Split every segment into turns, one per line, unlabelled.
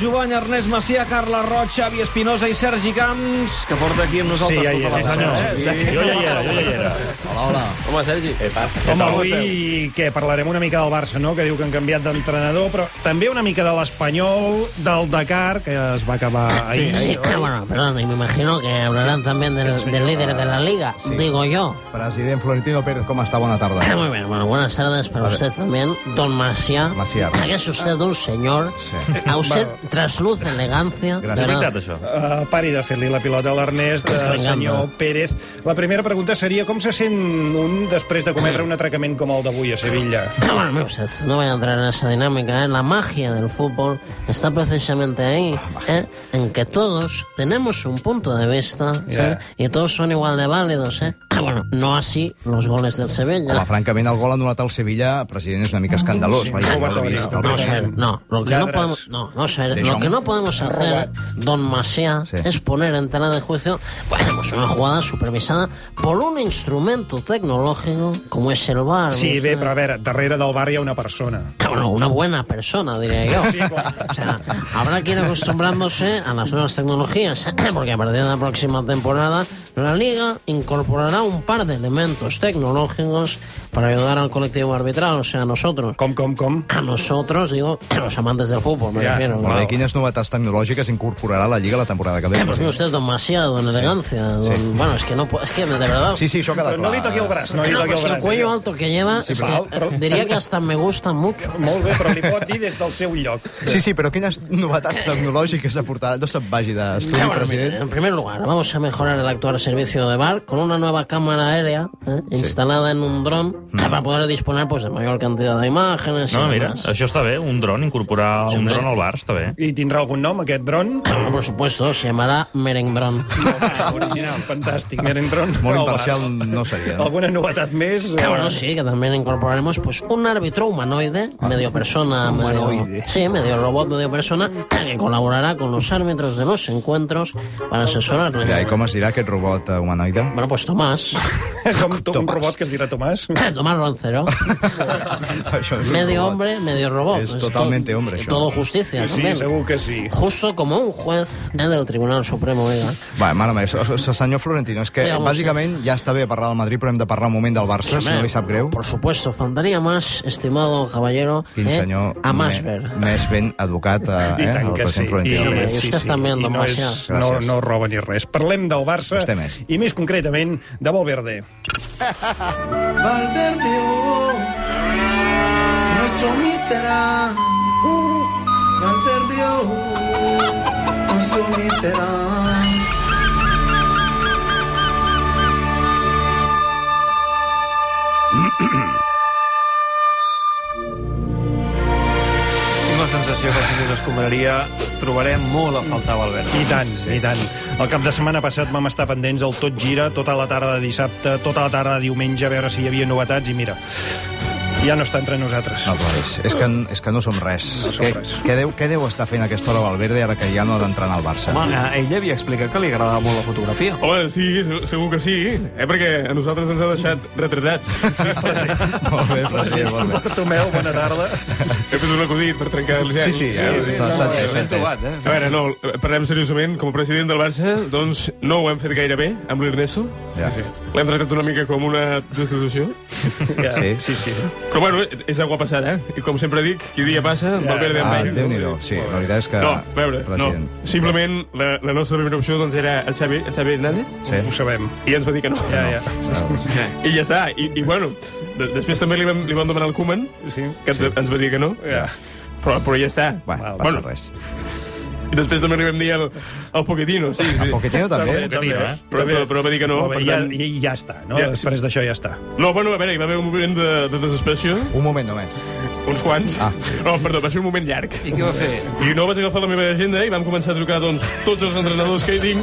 Jovany, Ernest Macià, Carla Roig, Xavi Espinosa i Sergi Camps, que porta aquí amb nosaltres
Sí, ja hi
tota la
era, sí,
setmana,
senyor.
eh?
Jo ja hi era, jo ja hi era.
Hola, hola. Home, Sergi. Què passa?
Home, avui què, parlarem una mica del Barça, no?, que diu que han canviat d'entrenador, però també una mica de l'Espanyol, del Dakar, que es va acabar ahir.
Sí, ah, bueno, perdón, y me imagino que hablarán también del, del líder de la liga, digo yo. Ah,
President Florentino Pérez, com està? Bona tarda.
Muy bien, bueno, buenas tardes para usted también, don Maciá.
Macià.
Es usted un señor, a usted trasluce elegancia. de
Gràcies.
verdad.
això.
Uh, pari de fer-li la pilota a l'Ernest,
És que
uh,
m'enganya.
senyor Pérez. La primera pregunta seria com se sent un després de
Mm.
cometre un atracament com el d'avui a Sevilla?
Ah, Bueno, mire usted, no voy a entrar en esa dinámica, ¿eh? la magia del fútbol está precisamente ahí, ¿eh? en que todos tenemos un punto de vista ¿eh? y todos son igual de válidos. ¿eh? Bueno, no así los goles del Sevilla.
Home, francament, el gol anul·lat al Sevilla, president, és una mica escandalós.
Sí,
vaja,
robatori,
no l'he vist,
no,
el
Vamos a ver,
president.
no, lo que no
Lladres.
podemos, no, vamos a ver,
De
lo
Jong.
que no podemos hacer, don Macià,
Sí.
es poner en tela de juicio bueno, pues una jugada supervisada por un instrumento tecnológico como es el VAR.
Sí,
¿no?
bé, però a veure, darrere del bar hi ha una persona.
Bueno, una buena persona, diría yo.
Sí, clar.
O sea, habrá que ir acostumbrándose a las nuevas tecnologías, porque a partir de la próxima temporada la liga incorporará un par de elementos tecnológicos para ayudar al colectivo arbitral, o sea, a nosotros.
Com, com, com?
A nosotros, digo, a los amantes del fútbol, me
Ya,
refiero.
Molt bé,
Wow.
quines novetats tecnològiques incorporarà la Lliga la temporada que
Eh, pues mire
ve?
usted, don Maciá, don Elegancia, don- Bueno, es que no puedo... Es que, de verdad...
Sí, sí, això queda
Però
clar.
no li toqui el braç, no li
No,
toqui
pues
el
que el
braç.
cuello alto que lleva, es
però-
que,
però-
eh, diría que hasta me gusta mucho.
Molt bé, però li pot dir des del seu lloc.
Sí, sí, però quines novetats tecnològiques ha portat? No se'n vagi d'estudi,
Ah, bueno, mire,
president.
en primer lugar, vamos a mejorar el actual servicio de bar con una nueva cámara aérea eh, instalada en un dron para poder disponer pues, de mayor cantidad de imágenes.
Mm. No,
y
mira,
demás.
això està bé, un dron, incorporar un
Hombre.
dron al bar, està bé.
I tindrà algun nom, aquest dron?
Bueno, por supuesto, se llamará Merengdron.
Original, fantàstic, Merendron.
Molt imparcial no eh? seria. No?
Alguna novetat més?
Ah, bueno, sí, que también incorporaremos pues un árbitro humanoide,
Ah.
medio persona, medio, sí, medio robot, medio persona, que colaborará con los árbitros de los encuentros para asesorarles.
Ja, I com es dirà aquest robot eh, humanoide?
Bueno, pues Tomás,
Com tu, un robot que es dirà Tomàs?
Tomás Roncero,
Això és un
medio
robot.
hombre, medio robot.
Es
Es to-
totalmente hombre, això.
Todo justicia.
Sí,
también.
segur que sí.
Justo como un juez eh, del Tribunal Supremo, oiga.
Va, mare meva, so- so- senyor Florentino, és que
Mira,
bàsicament ja està bé parlar del Madrid, però hem de parlar un moment del Barça, si no li sap greu.
Por supuesto, faltaría más, estimado caballero,
Quin
eh,
senyor
a
me-
más ver.
més ben educat, eh,
I
eh,
tant
el
que sí.
president Florentino.
home,
Pérez.
i estàs també en
I no, és,
Gràcies.
no, no roba ni res. Parlem del Barça
Vostè més.
i més concretament de Valverde.
Valverde, oh, nuestro mister ah. Valverde, oh, nuestro mister ah.
Tinc la sensació que si us escombraria trobarem molt a faltar Valverde.
I tant, sí. i tant. El cap de setmana passat vam estar pendents del tot gira, tota la tarda de dissabte, tota la tarda de diumenge, a veure si hi havia novetats, i mira, ja no està entre nosaltres.
No, però ah, és, és, que, és que no som res.
No som
què,
res.
Què, deu, què deu estar fent a aquesta hora Valverde ara que ja no ha d'entrenar al Barça?
Home, eh, ell havia explicat que li agradava molt la fotografia.
Home, sí, se- segur que sí, eh? perquè a nosaltres ens ha deixat retratats.
Molt bé, president, molt bé.
Bartomeu, bona tarda.
He fet un acudit per trencar el gel.
Sí, sí, eh,
sí,
s'ha-
no,
s'ha entès, s'ha entès.
A veure, no, parlem seriosament. Com a president del Barça, doncs no ho hem fet gaire bé amb l'Ernesto.
Ja.
L'hem tratat una mica com una destitució.
Ja,
Sí.
sí, sí.
Però bueno, és agua passada, eh? I com sempre dic, qui dia passa,
Ja.
Valverde en
Ah,
veia.
Déu-n'hi-do, sí, la veritat és que...
No, a veure,
president.
no. Simplement la, la nostra primera opció doncs, era el Xavi, el Xavi Hernández,
Sí. Ah,
Ho sabem.
i ens va dir que no.
Ja, ja.
I ja està. I, i bueno, de, després també li vam, li vam demanar al Koeman,
Sí.
que sí. ens va dir que no,
Ja.
però, però ja està.
Va,
Val.
passa
Bueno.
res.
I després també li vam dir al, al Pochettino, sí, sí.
Pochettino també?
també,
eh? Però- però- però va dir que no,
Molt bé,
per
ja,
tant-
ja, ja està, no?
Ja, sí.
Després d'això ja està.
No, bueno, a veure, hi va haver un moment de, de desesperació,
Un moment només.
uns quants.
Ah.
No, perdó, va ser un moment llarg.
I què va fer?
I no vaig agafar la meva agenda i vam començar a trucar doncs, tots els entrenadors que hi tinc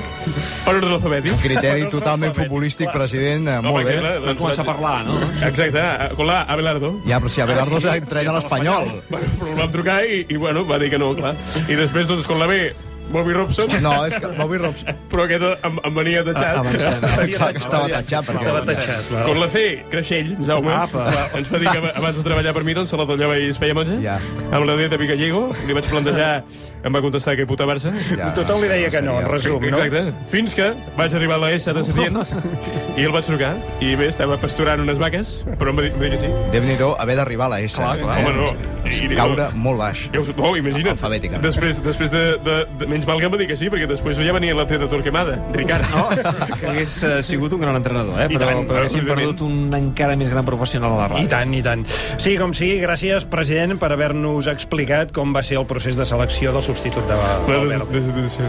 per ordre alfabètic.
Criteri totalment futbolístic, president, eh, molt
perquè,
bé.
clar, doncs,
Va començar a parlar, no?
Exacte, a- con la Abelardo.
Ja, però si Abelardo ja entrena l'Espanyol.
Bueno, però el vam trucar i, i bueno, va dir que no, clar. I després, doncs, con la B, Bobby Robson,
No, és que Bobby Robson
però aquest em, em venia
Ah,
tatxat.
avancem.
pensava que estava tatxat.
Estava
Perquè...
tatxat.
Con
val.
la C, Creixell, Jaume,
Ah,
Apa.
ens va dir que abans de treballar per mi, doncs, a la Dollava i es feia monja.
Ja.
Amb la D de Vigallego, li vaig plantejar em va contestar que puta Barça.
Ja, Tothom li deia que no, en resum, no?
Exacte. Fins que vaig arribar a la S de Setién i el vaig trucar. I bé, estava pasturant unes vaques, però em va dir, em va dir que sí.
Déu-n'hi-do haver d'arribar a la S.
Clar, clar.
Home, no.
És
I-
Caure molt baix.
Ja us, oh, imagina't.
Alfabèticament.
Després, després de, de, de, menys mal que em va dir que sí, perquè després ja venia la T de Torquemada, Ricard. No?
Hagués eh, sigut un gran entrenador, eh?
I
Però,
tant,
però haguéssim
evidentment.
perdut un encara més gran professional a la
I
ràdio.
tant, i tant. Sí, com sigui, gràcies, president, per haver-nos explicat com va ser el procés de selecció del substitut de
La des,
Valverde.
destitució.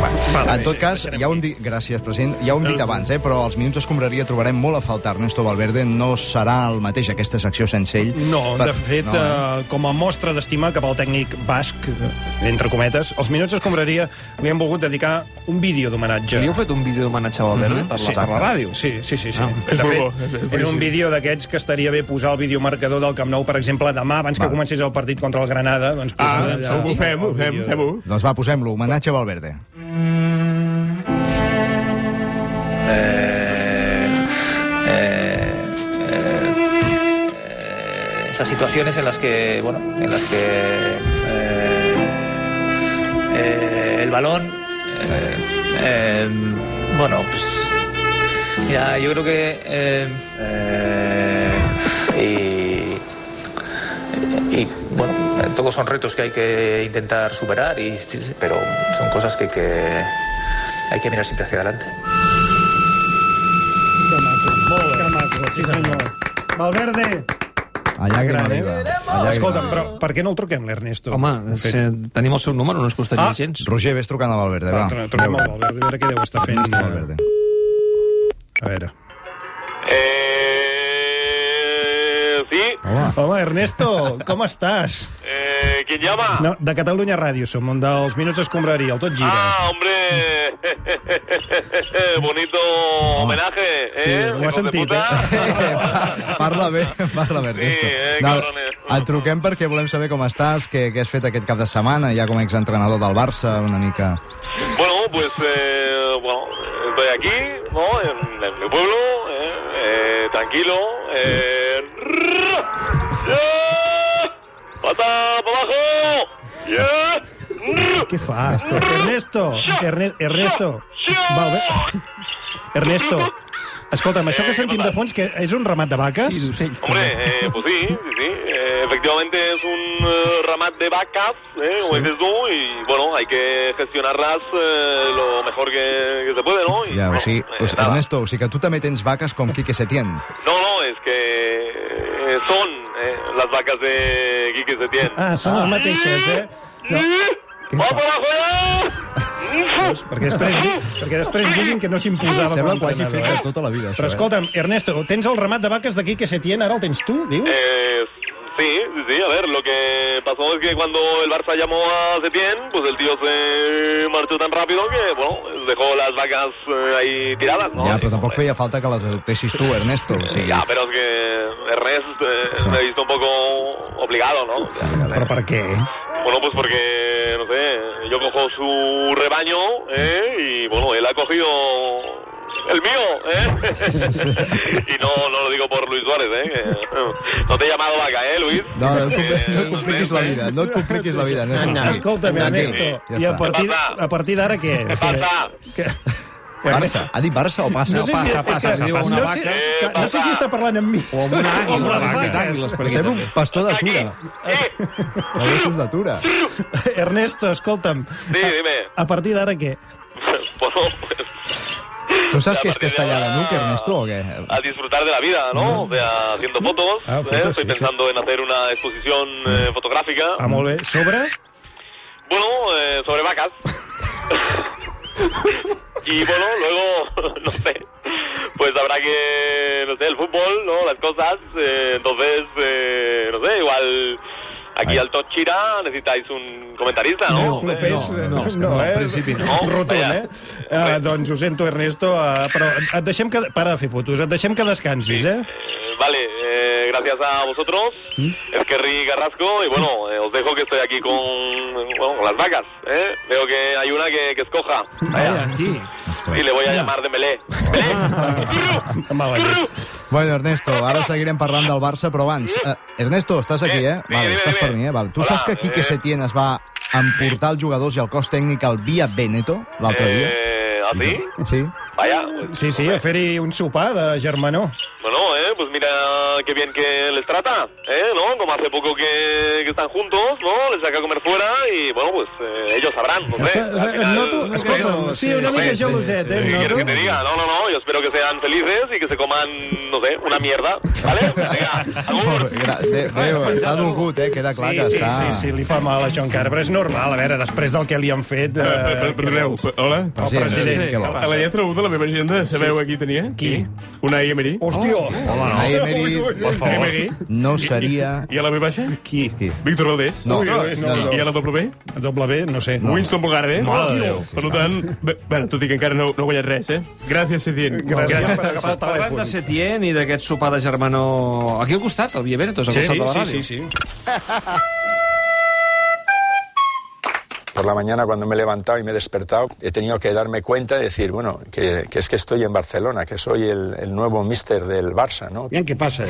Va, va,
En tot cas,
deixarem
ja un dit... Gràcies, president. Ja ho hem dit abans, eh? però als minuts d'escombraria trobarem molt a faltar Ernesto Valverde. No serà el mateix aquesta secció sense ell.
No,
Per-
de fet,
no, eh?
eh, com a mostra d'estima cap al tècnic basc, eh, entre cometes, els minuts d'escombraria li han volgut dedicar un vídeo d'homenatge.
Li heu fet un vídeo d'homenatge a Valverde per, la, Ah. per la ràdio?
Mm-hmm. Sí, sí, sí. sí.
és
de
molt bo, és
fet, és un
boníssim.
vídeo d'aquests que estaria bé posar al videomarcador del Camp Nou, per exemple, demà, abans que comencés el partit contra el Granada. Doncs posar
Ah,
allà
ho fem, ho
el
fem,
vídeo.
fem-ho.
Doncs va, posem-lo. Homenatge a Valverde.
Ah,
Eh, eh, esas situaciones en las que bueno en las que eh, eh, el balón eh, eh, bueno pues ya yo creo que eh, eh, y, y, bueno todos son retos que hay que intentar superar y pero son cosas que hay que hay que mirar siempre hacia adelante
Que maco, sí senyor. Valverde!
A llàgrima
Gran, eh?
viva. A llàgrima
Escolta'm,
viva.
però per què no el truquem, l'Ernesto?
Home, sí. tenim el seu número, no es costaria
Ah,
gens.
Roger, ves trucant a Valverde,
Va,
va.
tru- truquem al Valverde, a veure què deu estar fent.
Ernesto
eh,
Valverde.
A veure.
Eh, sí,
Hola.
Home, Ernesto, com estàs?
eh, ¿quién llama?
No, de Catalunya Ràdio som, un dels Minuts d'Escombraria, el Tot Gira.
Ah, hombre, bonito homenaje,
Sí,
¿eh?
ho
hijos de
has sentit,
puta?
eh? parla bé, parla bé, Ernesto.
eh, cabrones.
et truquem perquè volem saber com estàs, què, què has fet aquest cap de setmana, ja com a exentrenador del Barça, una mica...
Bueno, pues, eh, bueno, estoy aquí, ¿no? En, en mi pueblo, ¿eh? Eh, tranquilo. Eh, ¡Ya! ¡Pata para Eh, abajo! Eh, ¡Ya!
Què fa? Ernesto, Erne Ernesto, Valver... Ernesto, escolta'm, això
Eh,
que sentim de fons que és un ramat de vaques?
Sí, d'ocells,
Hombre,
també.
eh, pues sí, sí, sí. Eh, efectivamente es un eh, ramat de vacas, eh, como dices tú, y bueno, hay que gestionarlas eh, lo mejor que, que se puede, ¿no? Y,
Ja, o
bueno,
sigui,
eh,
o sigui,
nada.
Ernesto, o sigui que tu també tens vaques com Quique Setién.
No, no, es que eh, son eh, las vacas de Quique Setién.
Ah, són les mateixes, eh? No,
¡Vamos para afuera!
perquè després, di- perquè després diguin que no s'imposava com
Sembla
a
que ho hagi fet de
entrenador. eh?
tota la vida, això.
Però
eh?
escolta'm, Ernesto, tens el ramat de vaques d'aquí que se tien, ara el tens tu, dius?
Eh, sí, sí, sí, a ver, lo que pasó es que cuando el Barça llamó a Setién, pues el tío se marchó tan rápido que, bueno, dejó las vacas eh, ahí tiradas, ¿no?
Ja,
Y,
però tampoc
hombre,
feia falta que les adoptessis tu, Ernesto. O sigui,
Ya, pero es que Ernest eh,
Sí.
me he visto un poco obligado, ¿no?
Però per què?
Bueno, pues porque, no sé, yo cojo su rebaño, ¿eh? Y bueno, él ha cogido el mío, ¿eh? y no, no lo digo por Luis Suárez, ¿eh? Que- No te he llamado vaca, ¿eh, Luis?
No, no, et
Eh,
compli- no et compliquis la vida, no et compliquis la vida,
Anda.
Ernesto.
Escolta'm,
Tranquil,
Ernesto,
ja
i a
està.
partir,
Passa.
a partir d'ara què?
¿Qué pasa?
Que,
Barça. Ha dit Barça o passa?
No sé si,
passa,
és
passa,
que-
si diu una
no sé-
vaca.
Eh,
Eh,
que- no sé si està parlant amb mi.
O amb una àguila.
amb les
una vaca,
vaques.
àguiles, per aquí
Sembla
també.
un pastor d'atura.
Eh,
De gossos d'atura.
Ernesto, escolta'm,
Sí, dime.
a partir d'ara què?
Bueno, pues,
Tu saps que és
a partir de
castellà de
ahora,
nuc, Ernesto, o què?
A disfrutar de la vida, ¿no? O sea, haciendo fotos.
Ah,
¿eh?
fotos,
Estoy
sí,
pensando en hacer una exposición eh, fotográfica.
Ah, molt bé. Sobre?
Bueno, eh, sobre vacas. y bueno, luego, no sé, pues habrá que, no sé, el fútbol, ¿no? Las cosas. eh, entonces, eh, no sé, igual aquí al Tochira necesitáis un comentarista, ¿no?
No,
Eh,
Clopés,
no, no,
no,
no,
eh?
en principi no.
Rotund,
Vaja.
eh? Ah, doncs ho sento, Ernesto, ah, però et deixem que... Para de fer fotos, et deixem que descansis, eh?
Eh, Vale, eh, gracias a vosotros, el Kerry Carrasco, y bueno, eh, os dejo que estoy aquí con, bueno, con las vacas. ¿eh? Veo que hay una que, que escoja,
Vaya, aquí.
y le voy a llamar de Melé. ¡Melé!
Mala llet.
Bueno, Ernesto, ara seguirem parlant del Barça, però abans... eh, Ernesto, estàs aquí, eh?
Sí,
Vale,
dime,
estàs
dime.
per mi, eh? Vale. Tu
Hola,
saps que Quique
eh.
Setién es va en portar els jugadors i el cos tècnic al Via Veneto l'altre
Eh, ¿A ti?
dia. Sí.
Vaya.
Sí, sí, a fer-hi un sopar de germanor.
Bueno, eh, pues mira qué bien que les trata, ¿eh? ¿No? Como hace poco que, que están juntos, ¿no? Les saca a comer fuera y, bueno, pues eh, ellos sabrán, no sé.
Està,
Al final-
noto, escolta'm, sí, una
sí,
mica
sí,
geloset, eh?
¿Qué quieres que
Noto.
te diga? No, no, no, yo espero que sean felices y que se coman, no sé, una mierda, ¿vale? Venga,
Eh,
agur.
Gra- de- Déu, està dolgut, eh? Queda clar
Sí,
que
sí,
està...
sí, sí, li fa mal això encara, però és normal, a veure, després del que li han fet... Eh,
Per- per-
què
Perdoneu,
vols?
per- hola?
El
Sí,
president,
sí,
què
sí.
vols?
A la lletra 1 de la meva agenda, sabeu a qui tenia?
Qui?
Una Emery.
Hòstia! Hola,
Unai Emery
Emery.
no seria...
I a la B baixa?
Qui?
Qui?
Víctor Valdés.
No,
Ui,
no,
ui,
no.
I a la W?
Doble B, no sé. No.
Winston Bogarde.
Mare de Déu.
Per tant, bé, bueno, tot i que encara no, no ha guanyat res, eh? Gràcies, Setien.
Gràcies per agafar el
Parlant de
telèfon.
Setién i d'aquest sopar de germanor... Aquí al costat, al Via Veneto, és al
Sí,
costat de la
sí,
ràdio.
sí, sí.
Por la mañana cuando me he levantado y me he despertado, he tenido que darme cuenta y decir, bueno, que, que es que estoy en Barcelona, que soy el, el nuevo mister del Barça, ¿no?
Bien, què passa?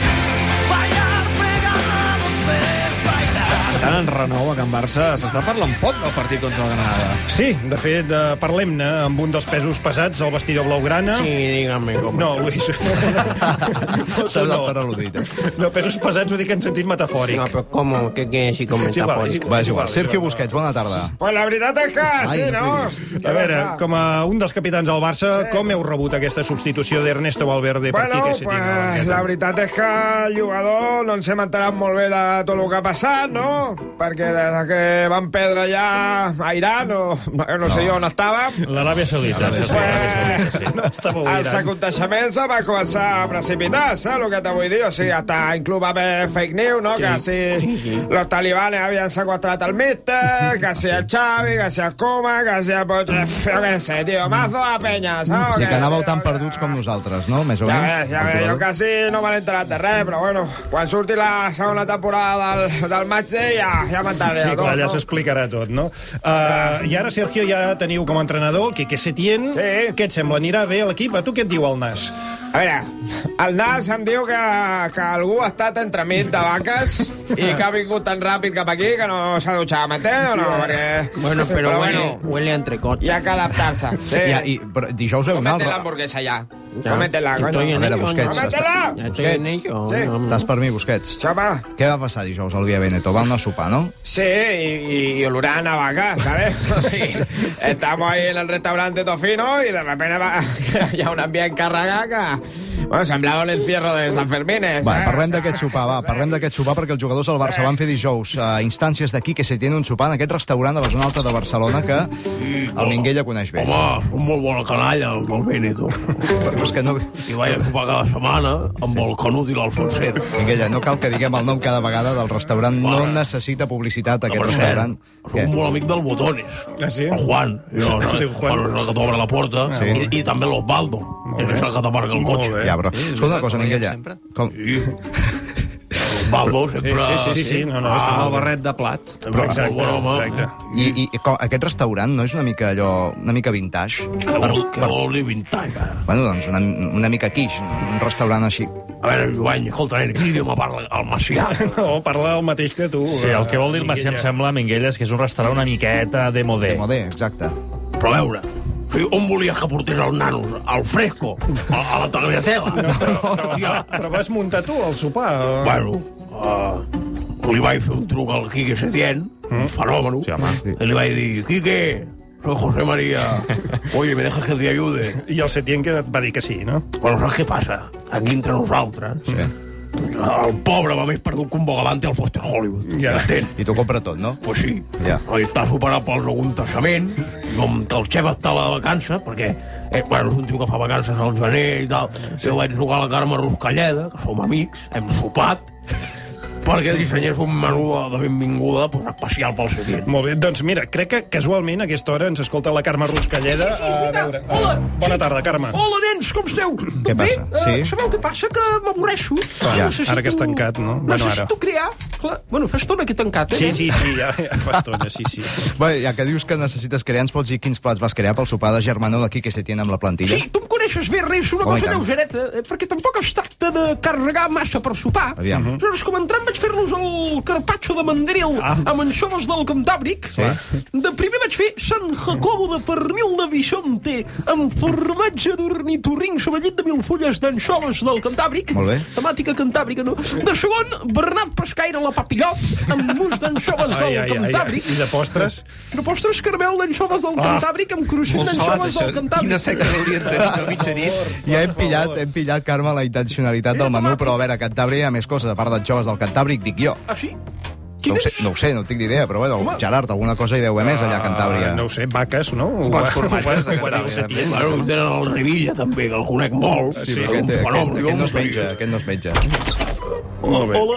Tant en renou a Can Barça s'està parlant poc del partit contra el Granada.
Sí, de fet, eh, parlem-ne amb un dels pesos pesats, el vestidor blaugrana.
Sí, dígame cómo.
No, Luis. no,
S'ha
tu
de per
no.
al·ludit, eh?
no, pesos pesats ho dic en sentit metafòric.
No, pero ¿cómo? ¿Qué quieres decir con
Sí, vale, sí,
metafórico?
Va, és igual.
vale,
Sergio
vale.
Busquets, bona tarda.
Pues la veritat és que
sí, Ai, no?
Ah,
A veure, com a un dels capitans del Barça, sí. com heu rebut aquesta substitució d'Ernesto Valverde per
Bueno,
Quique
pues,
Setién? a banqueta?
la veritat és que el jugador doncs hem enterat molt bé de tot el que ha passat, no? Perquè des que van perdre ja a Iran, o no, no. sé jo on estava,
L'Aràbia Saudita.
Pues,
sí, sí, l'Aràbia Saudita, sí.
No, estava
els
oblidant.
aconteixements se van començar a precipitar, saps el que te vull dir? O sigui, hasta inclús va haver fake news, no? Sí. Que si los talibanes havien sequestrat el míster, que si el Xavi, que si el Coma, que si el...
Mm.
Jo què sé, tio, mazo de penya, saps?
O sigui que anàveu tan
jo-
perduts com nosaltres, no? Més o
Ah, Ja
menys.
ves, ja
el
ves, jo
jugador.
quasi no me n'he enterat de res, però bueno, quan surti la segona temporada del, del eh, matchday ja, ja m'entraré
Sí,
de tot,
clar, allà
no?
s'explicarà tot, no? Uh, I ara, Sergio, ja teniu com a entrenador el Quique Setién.
Sí.
Què et sembla? Anirà bé a l'equip? A tu què et diu el Nas?
A veure, el Nas em diu que, que algú ha estat entremig de vaques i que ha vingut tan ràpid cap aquí que no s'ha dutxat, m'entén ¿Eh o no? Perquè...
Bueno, pero,
Però
huele,
bueno,
huele a entrecot.
hi ha que adaptar-se. Sí.
Ja, i, però dijous heu anat...
Comete
al-
l'hamburguesa ja.
Ya.
Comete-la,
Estoy
coño.
en
A veure,
ello, ¿no?
Busquets,
Comete-la!
Ya estoy en ello.
Sí.
no,
Estàs per mi, Busquets.
Xapa.
Què va passar dijous al Via Veneto? Va anar a sopar, no?
Sí, y, y olorán a vaca, ¿sabes? Sí. Estamos ahí en el restaurante Tofino y de repente va, ya una vía en Carragaca. Bueno, semblaba el encierro de San Fermín. ¿eh?
Va, parlem d'aquest sopar, va, parlem d'aquest sopar perquè els jugadors del Barça van fer dijous a instàncies d'aquí que se tiene un sopar en aquest restaurant de la zona alta de Barcelona que el Minguella coneix bé.
Home, un molt bona canalla, el del Benito.
Però és que no...
I vaig a sopar cada setmana amb el Canut i l'Alfonset.
Minguella, no cal que diguem el nom cada vegada del restaurant, no necessita publicitat
Que,
aquest
per
restaurant.
cert, Som molt amic del Botones.
Ah, sí?
El Juan. Jo, no,
Diu Juan.
Bueno, és el que t'obre la porta.
Sí.
I, I també l'Osvaldo. És el que t'aparca el cotxe.
Ja, però... Escolta una cosa, Minguella. Com...
Osvaldo sempre...
Sí, sí, sí, no, no,
Ah,
està
amb
molt
el barret de plat.
Però,
Exacte,
Bon home.
exacte.
I, i, i com, aquest restaurant no és una mica allò... una mica vintage?
Que vol, que vol dir vintage.
Bueno, doncs una, una mica quiche, un restaurant així.
A veure, Joan, escolta, nen, quin idioma parla el Macià?
No, parla el mateix que tu.
Sí,
eh,
el que vol dir el Macià em
Minguella.
sembla, Minguella, és que és un restaurant una miqueta de modé.
Com a bé, exacte.
Però a veure, o sigui, on volies que portés els nanos? Al fresco? A, a la tagliatela? Hòstia,
Però vas muntar tu el sopar. eh?
bueno, uh, li vaig fer un truc al Quique Setién,
Mm?
un fenòmeno, sí, i li vaig dir, Quique, soy José María, oye, me dejas que te ayude?
I el Setién que et va dir que sí, no?
Bueno, saps què passa? Aquí entre nosaltres, sí. el pobre va més perdut que un bogavante al Foster Hollywood.
Ja.
Entén?
I t'ho compra tot, no?
Pues sí.
Ja.
Oi, està superat pels aconteixements, com que el xef estava de vacances, perquè eh, bueno, és un tio que fa vacances al gener i tal. Sí. Jo vaig trucar a la Carme Ruscalleda, que som amics, hem sopat, perquè dissenyés un menú de- de benvinguda pues, especial pel Setién.
Molt bé, doncs mira, crec que casualment a aquesta hora ens escolta la Carme Ruscalleda. A veure, a... Bona tarda, Carme.
Hola, nens, com esteu? Tot
Què passa?
Bé? Eh,
Sí?
sabeu què passa? Que m'avorreixo.
Ah,
Ja,
ara que has tancat, no? Bueno,
Bueno,
ara.
necessito crear... Clar, bueno, fa estona que he tancat, eh?
Sí, sí, sí, ja, ja fa estona, sí, sí.
Bé, ja que dius que necessites crear, ens pots dir quins plats vas crear pel sopar de germanor d'aquí que se tiene amb la plantilla?
Sí, Ah, tu em coneixes.
deixes fer res, una
Home, i
cosa
tant.
lleugereta, eh, perquè tampoc es tracta de carregar massa per sopar.
Aviam.
Aleshores, com entrant vaig fer-los el carpaccio de mandril
Ah.
amb anxoves del Cantàbric. De primer vaig fer Sant Jacobo de pernil de Vicente amb formatge d'ornitorrinc sobre llit de mil fulles d'anxoves del Cantàbric.
Molt bé.
Temàtica cantàbrica, no? De segon, Bernat Pescaire a la papillot amb mus d'anxoves
Ai,
del
ai, ai, ai.
Cantàbric.
I de postres?
Però postres caramel d'anxoves del
Ah.
Cantàbric amb cruixent
Molt salat,
d'anxoves del
això.
Cantàbric.
Quina seca l'haurien tenit a mitja nit. Ja hem pillat, hem pillat, Carme, la intencionalitat del menú, però a veure, a Cantàbria hi ha més coses, a part dels joves del Cantàbric, dic jo.
Ah, sí?
No ho sé, no ho sé, no tinc ni idea, però bueno, Gerard, alguna cosa hi deu haver més allà a eh? Cantàbria.
Ah, no ho sé, vaques, no? Ho
Bons
va-
formatges
ho va-
de
ho va dir el
Cantàbria,
Setién.
també. Bueno,
eh?
tenen el Revilla, també, que el conec molt.
Sí,
Sí,
aquest,
un
aquest,
fenomen,
aquest,
jo
no
no
es menja, aquest no es menja.
Molt bé. Hola,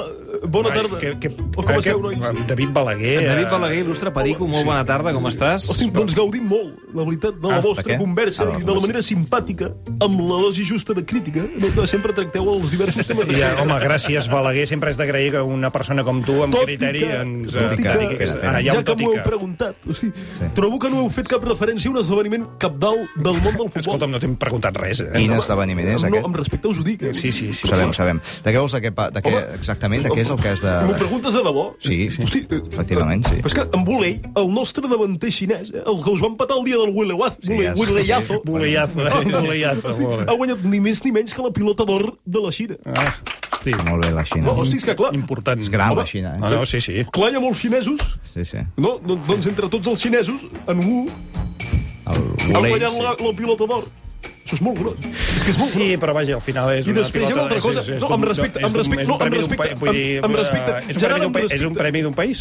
bona
Ai,
tarda.
Que, que,
com
que,
esteu, nois?
David Balaguer...
David
eh,
Balaguer, il·lustre perico, molt bona tarda, com estàs?
Hosti, doncs gaudim molt, la veritat, de la
Ah, de
vostra
què?
conversa
Ah, de la
i de la manera simpàtica, amb la dosi justa de crítica, no que sempre tracteu els diversos temes de
I, eh,
crítica.
home, gràcies, Balaguer. Sempre has d'agrair que una persona com tu, amb
Tot i
criteri,
que-
ens... eh,
tot i que-
digui aquesta- Ah, hi ha
ja
un
que
tot i
m'ho heu
que.
preguntat, o sigui, trobo que no heu fet cap referència a un esdeveniment capdalt del món del futbol.
Escolta'm, no t'hem preguntat res. Eh?
Quin esdeveniment és
Amb-
aquest?
No, amb respecte us ho dic. Eh?
Sí, sí, sí.
Ho sabem, ho sabem. De què vols, de què, pa- de què exactament, de què és el cas de...
M'ho preguntes de debò?
Sí,
Hosti, eh,
efectivament, sí.
Però és que en Bolei, el nostre davanter xinès, eh, el que us va empatar el dia del Wilewazo, sí,
ja sé,
Wileyazo,
sí. Wileyazo,
Ah,
sí,
sí.
Wileyazo,
Hosti,
molt bé.
ha guanyat ni més ni menys que la pilota d'or de la Xina.
Ah, hosti.
Molt bé, la Xina.
Hosti, és que Ah, clar...
Important. És
gran, la Xina, eh?
No, no, sí, sí.
Clar, hi ha molts xinesos,
Sí, sí.
no? Don- Doncs entre tots els xinesos, en un han
Volei,
guanyat
sí.
la, la pilota d'or. Això és molt gros. És que és molt
Sí, però vaja, al final és
I
una
després hi ha una altra
és-
cosa.
és- és
No,
d'un-
amb respecte,
és
amb
d'un-
respecte,
és
no,
un
amb
premi d'un
respecte,
pa- vull dir,
amb- amb respecte.
eh, És un
Gerard,
premi d'un
amb
pa- és
respecte.
un premi d'un país?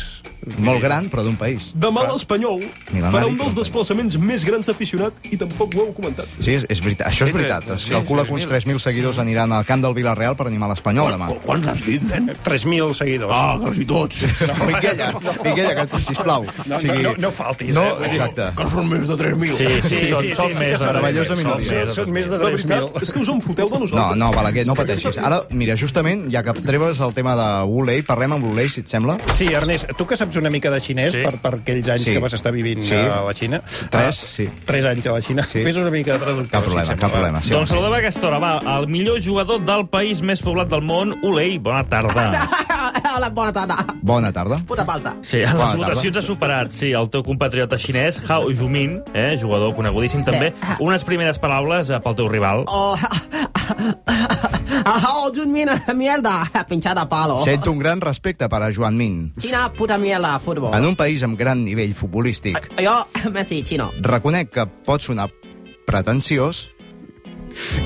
Molt gran, però d'un país.
Demà l'Espanyol
Milan
farà un
Aritz,
dels desplaçaments més grans aficionat i tampoc ho heu comentat.
Sí, és, és veritat. Això és veritat. Es calcula que uns 3.000 seguidors aniran al camp del Villarreal per animar l'Espanyol demà.
Quants has dit, nen?
3.000 seguidors.
Ah, quasi tots.
Miquella, Miquella, que, sisplau.
No,
o sigui,
no, no, no faltis,
No,
eh? Vull dir-
exacte.
Que són més de 3.000.
Sí, sí, sí, sí, sí, sí, que són-
Meravellosa
són-
minoria.
són- són més de
La veritat
3.000.
és que us en foteu de
No,
nosaltres.
no, Balaguer, no pateixis. Ara, mira, justament, ja que treves el tema de Wulei, parlem amb Wulei, si et sembla.
Sí, Ernest, tu que saps una mica de xinès sí. per, per aquells anys
Sí.
sí. que vas estar vivint
Sí.
sí. a la Xina...
Tres,
Ah,
sí.
Tres anys a la Xina. Sí. Fes una mica de traductor.
Cap
si
problema,
et sembla,
cap
va.
problema. Sí,
Doncs
home.
saludem a aquesta hora, va, el millor jugador del país més poblat del món, Ulei, bona tarda.
Hola, bona tarda.
Bona tarda.
Puta palsa.
Sí, a les
Bona
votacions ha superat, sí, el teu compatriota xinès, Hao Jumin, eh, jugador conegudíssim també. Unes primeres paraules eh, pel teu rival.
Oh, oh, Jun Min, mierda, pinchada a palo.
Sento un gran respecte per a Joan Min.
Xina, puta mierda, futbol.
En un país amb gran nivell futbolístic,
Jo, Messi, xino.
reconec que pot sonar pretensiós,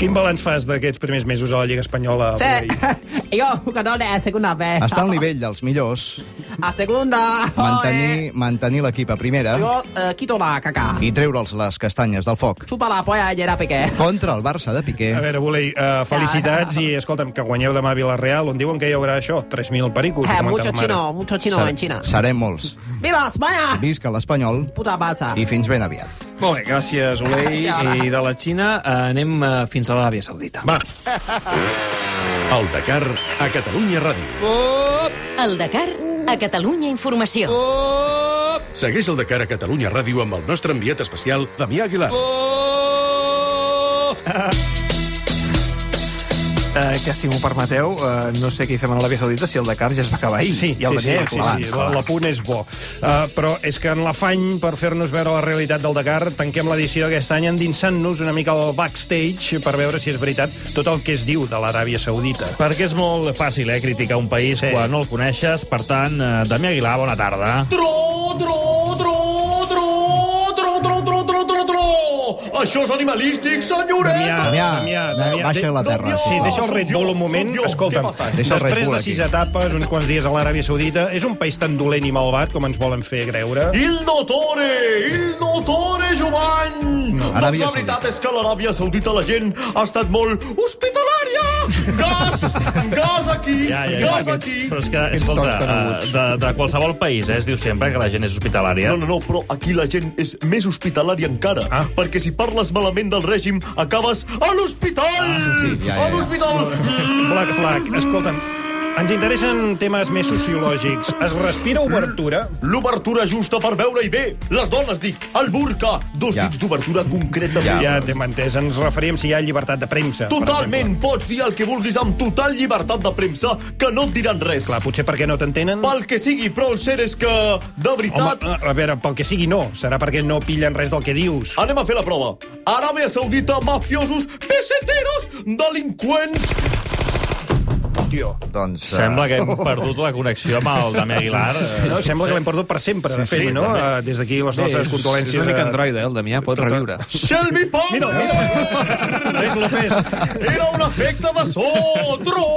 Quin balanç fas d'aquests primers mesos a la Lliga Espanyola?
Sí,
Blai?
jo, jugador de segunda B.
estar al nivell dels millors,
A segunda.
mantenir, mantenir l'equip a primera
Jo, eh, quito la caca.
i treure'ls les castanyes del foc.
Chupa la polla, Gerard Piqué.
Contra el Barça de Piqué.
A veure, Volei, uh, felicitats i, escolta'm, que guanyeu demà a Vilareal, on diuen que hi haurà això, 3.000 pericos.
Eh,
ha comentat
mucho
la mare.
chino, mucho chino en Xina.
Serem molts.
Viva Espanya!
Visca l'Espanyol
Puta balsa.
i fins ben aviat.
Molt bé, gràcies, Olei.
Gràcies.
I de la Xina eh, anem eh, fins a l'Aràbia Saudita. Va.
El Dakar a Catalunya Ràdio.
El Dakar a Catalunya Informació.
Segueix el Dakar a Catalunya Ràdio amb el nostre enviat especial, Damià Aguilar.
Eh, que, si m'ho permeteu, eh, no sé què hi fem a l'Aràbia Saudita, si el Dakar ja es va acabar ahir.
Sí,
ja el
sí, sí,
veníem
sí,
acabant.
sí, sí. la- l'apunt és bo. Uh, però és que en l'afany per fer-nos veure la realitat del Dakar, tanquem l'edició d'aquest any endinsant-nos una mica al backstage per veure si és veritat tot el que es diu de l'Aràbia Saudita.
Perquè és molt fàcil, eh, criticar un país sí. quan no el coneixes. Per tant, eh, Damià Aguilar, bona tarda.
Tro, tro, tro, tro, tro, tro, tro, tro, tro, tro. Això és animalístic, senyoreta.
de- Sí, deixa el Red Bull un moment. Escolta'm,
Ah, Deixa el Red
després
Bull
de
aquí.
sis etapes, uns quants dies a l'Aràbia Saudita, és un país tan dolent i malvat com ens volen fer creure?
Il notore, il notore Joan! No, la
Aràbia
veritat és que a l'Aràbia Saudita la gent ha estat molt hospitalària! Gas! gas aquí!
Ja, ja, ja,
gas
aquests,
aquí!
però és que, escolta, eh, de, de qualsevol país eh, es diu sempre que la gent és hospitalària.
No, no, no, però aquí la gent és més hospitalària encara, ah. perquè si parles malament del règim, acabes a l'hospital! Ah,
sí, ja, ja, ja.
A l'hospital!
Black Flag, escolta'm, Ens interessen temes més sociològics. Es respira obertura?
L'obertura justa per veure-hi bé. Les dones, dic, el burca. Dos
Ja.
dits d'obertura concreta.
Ja, ja t'hem entès. Ens referíem si hi ha llibertat de premsa. per
Totalment, pots dir el que vulguis amb total llibertat de premsa, que no et diran res. Clar,
potser perquè no t'entenen.
Pel que sigui, però el cert és que, de
Home,
veritat...
a veure, pel que sigui no. Serà perquè no pillen res del que dius.
Anem a fer la prova. Aràbia Saudita, mafiosos, peseteros, delinqüents...
Tio.
Doncs...
Sembla que hem perdut la connexió amb el Damià Aguilar. Eh,
No, sembla
sí.
que l'hem perdut per sempre, de
Sí,
fet,
sí,
no?
també.
Eh, Des d'aquí les
Sí,
nostres Tota-
és-
condolències.
és una mica
a-
androide, eh, el Damià, pot reviure.
Shelby Palmer! Mira, mira!
Ves López!
Era un efecte de so! Tro,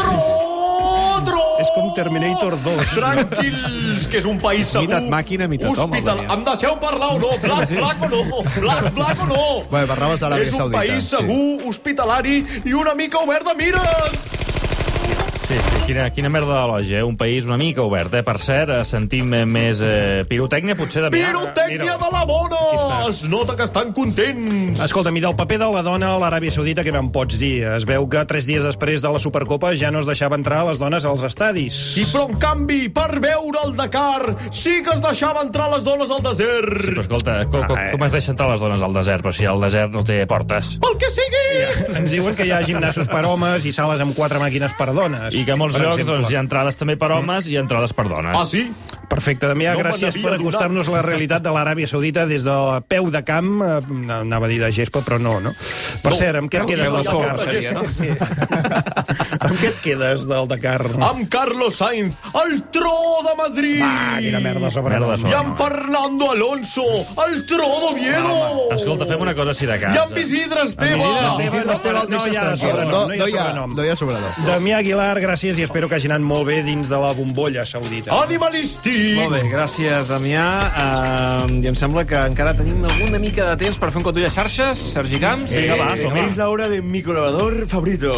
tro, tro!
És com Terminator 2.
Tranquils, que és un país segur.
Mitat màquina, mitat home,
Hospital.
Damià.
Em deixeu parlar o no? Black, black o no? Black, black o no?
Bé, parlaves d'Aràbia
És un
Saudita,
país
sí.
segur, hospitalari i una mica obert de mires!
Sí, sí, quina, quina merda de loja, eh? Un país una mica obert, eh? Per cert, eh, sentim eh, més eh, pirotècnia, potser de...
Pirotècnia de la bona! Es nota que estan contents.
Eh, Escolta'm, i del paper de la dona a l'Aràbia Saudita, què me'n pots dir? Es veu que tres dies després de la Supercopa ja no es deixava entrar les dones als estadis.
Sí, però en canvi, per veure el Dakar, sí que es deixava entrar les dones al desert.
Però escolta, com, com,
Ah, eh.
com es deixen entrar les dones al desert? Però si el desert no té portes.
Pel que sigui!
Ens diuen que hi ha gimnasos per homes i sales amb quatre màquines per dones.
I que a molts
per
llocs
exemple.
doncs, hi ha entrades també per homes i entrades per dones.
Ah, sí?
Perfecte, Damià,
No
no
me
gràcies
n'havia
per acostar-nos a la realitat de l'Aràbia Saudita des de peu de camp, eh, anava a dir de gespa, però no, no? Per
No,
cert, amb què
peu
et quedes
de
del
camp,
Dakar?
de
eh?
gespa,
Sí. amb què et quedes del Dakar?
Amb Carlos Sainz, el tro de Madrid!
Va, quina merda sobre Merda sobre
I amb Fernando Alonso, el tro d'Oviedo!
Escolta, fem una cosa així de
I
cas.
amb Isidre Esteve!
Esteban, Esteban, no, hi ha sobrenom, no, hi ha sobrenom.
No hi ha sobrenom.
Damià Aguilar, gràcies i espero que hagi anat molt bé dins de la bombolla saudita.
Animalistic!
Molt bé, gràcies, Damià. Uh, I em sembla que encara tenim alguna mica de temps per fer un cotull a xarxes. Sergi Camps.
Vinga, va, som-hi.
vinga,
Es la hora de mi colaborador favorito.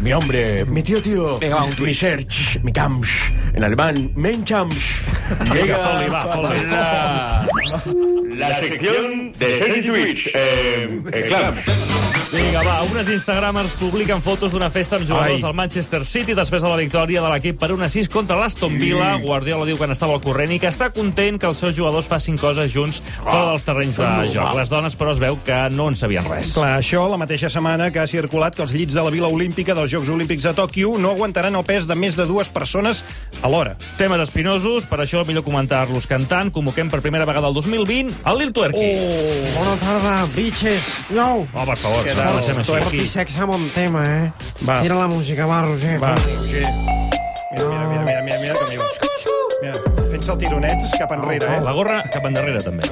Mi hombre, mi tío tío.
Venga, va, un tuit.
mi Serge, mi Camps. En alemán, men Camps. Llega
Foli, va, foli.
la, la sección de Sergi Twitch. Eh, eh, Camps.
Vinga, va, unes instagramers publiquen fotos d'una festa amb jugadors
Ai.
del Manchester City després de la victòria de l'equip per 1 a 6 contra l'Aston Villa. Guardiola diu que n'estava al corrent i que està content que els seus jugadors facin coses junts
Ah,
fora dels terrenys de joc. Les dones, però, es veu que no en sabien res.
Clar, això la mateixa setmana que ha circulat que els llits de la Vila Olímpica dels Jocs Olímpics de Tòquio no aguantaran el pes de més de dues persones alhora.
Temes espinosos, per això millor comentar-los cantant. Convoquem per primera vegada el 2020 el Lil Twerky.
Oh, bona tarda, bitches. No.
Oh, per favor,
Què
no
tal,
comencem així.
Porti sexe amb un tema, eh?
Va.
Tira la música, va, Roger.
Va,
fot-li.
Roger. Mira, mira, mira, mira, mira, mira com hi va. Mira, fent-se el tironets cap enrere, eh?
La gorra cap endarrere, també.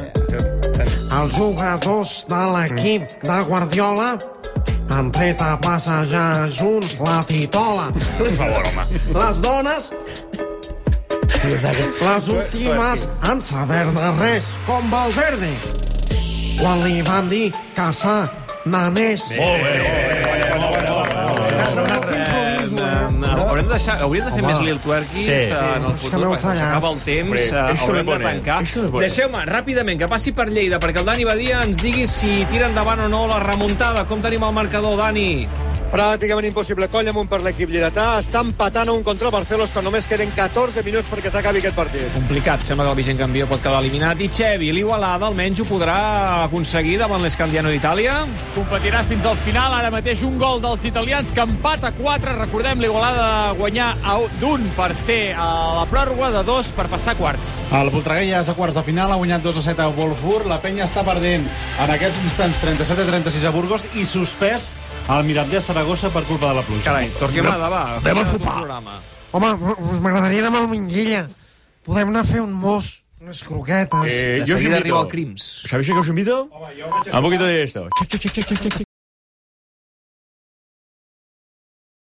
Els jugadors de l'equip de Guardiola han tret a passejar junts la titola.
Per favor, home.
Les dones... Les últimes han saber de res, com Valverde. Quan li van dir que s'ananés...
Molt bé.
Haurem de deixar, hauríem de fer
Home.
més Lil Twerky
Sí.
eh, en el
És que
futur,
m'heu
perquè
tallat.
s'acaba el temps,
Hombre,
eh,
eso me
haurem de
pone,
tancar.
eso me pone.
Deixeu-me, ràpidament, que passi per Lleida, perquè el Dani Badia ens digui si tira endavant o no la remuntada. Com tenim el marcador, Dani?
Pràcticament impossible. Coll amunt per l'equip lliretà. Està empatant a un contra el Barcelos quan només queden 14 minuts perquè s'acabi aquest partit.
Complicat, sembla que el vigent campió pot quedar eliminat. I Xevi, l'Igualada almenys ho podrà aconseguir davant l'Escandiano d'Itàlia?
Competiràs fins al final, ara mateix un gol dels italians que empata 4, recordem l'Igualada de guanyar a un- d'un per ser a la pròrroga de dos per passar a quarts.
El Voltregà ja és a quarts de final, ha guanyat 2 a 7 a Wolfsburg, la penya està perdent en aquests instants 37 a 36 a Burgos i suspès al Mirandés Saragossa per culpa de la pluja.
Carai, Torquemada, va.
Anem a
sopar.
Home, us m'agradaria anar amb el Minguilla. Podem anar a fer un mos, unes
Eh,
croquetes...
De seguida arriba el Crims.
¿Sabéis a qué os invito? A un poquito de esto.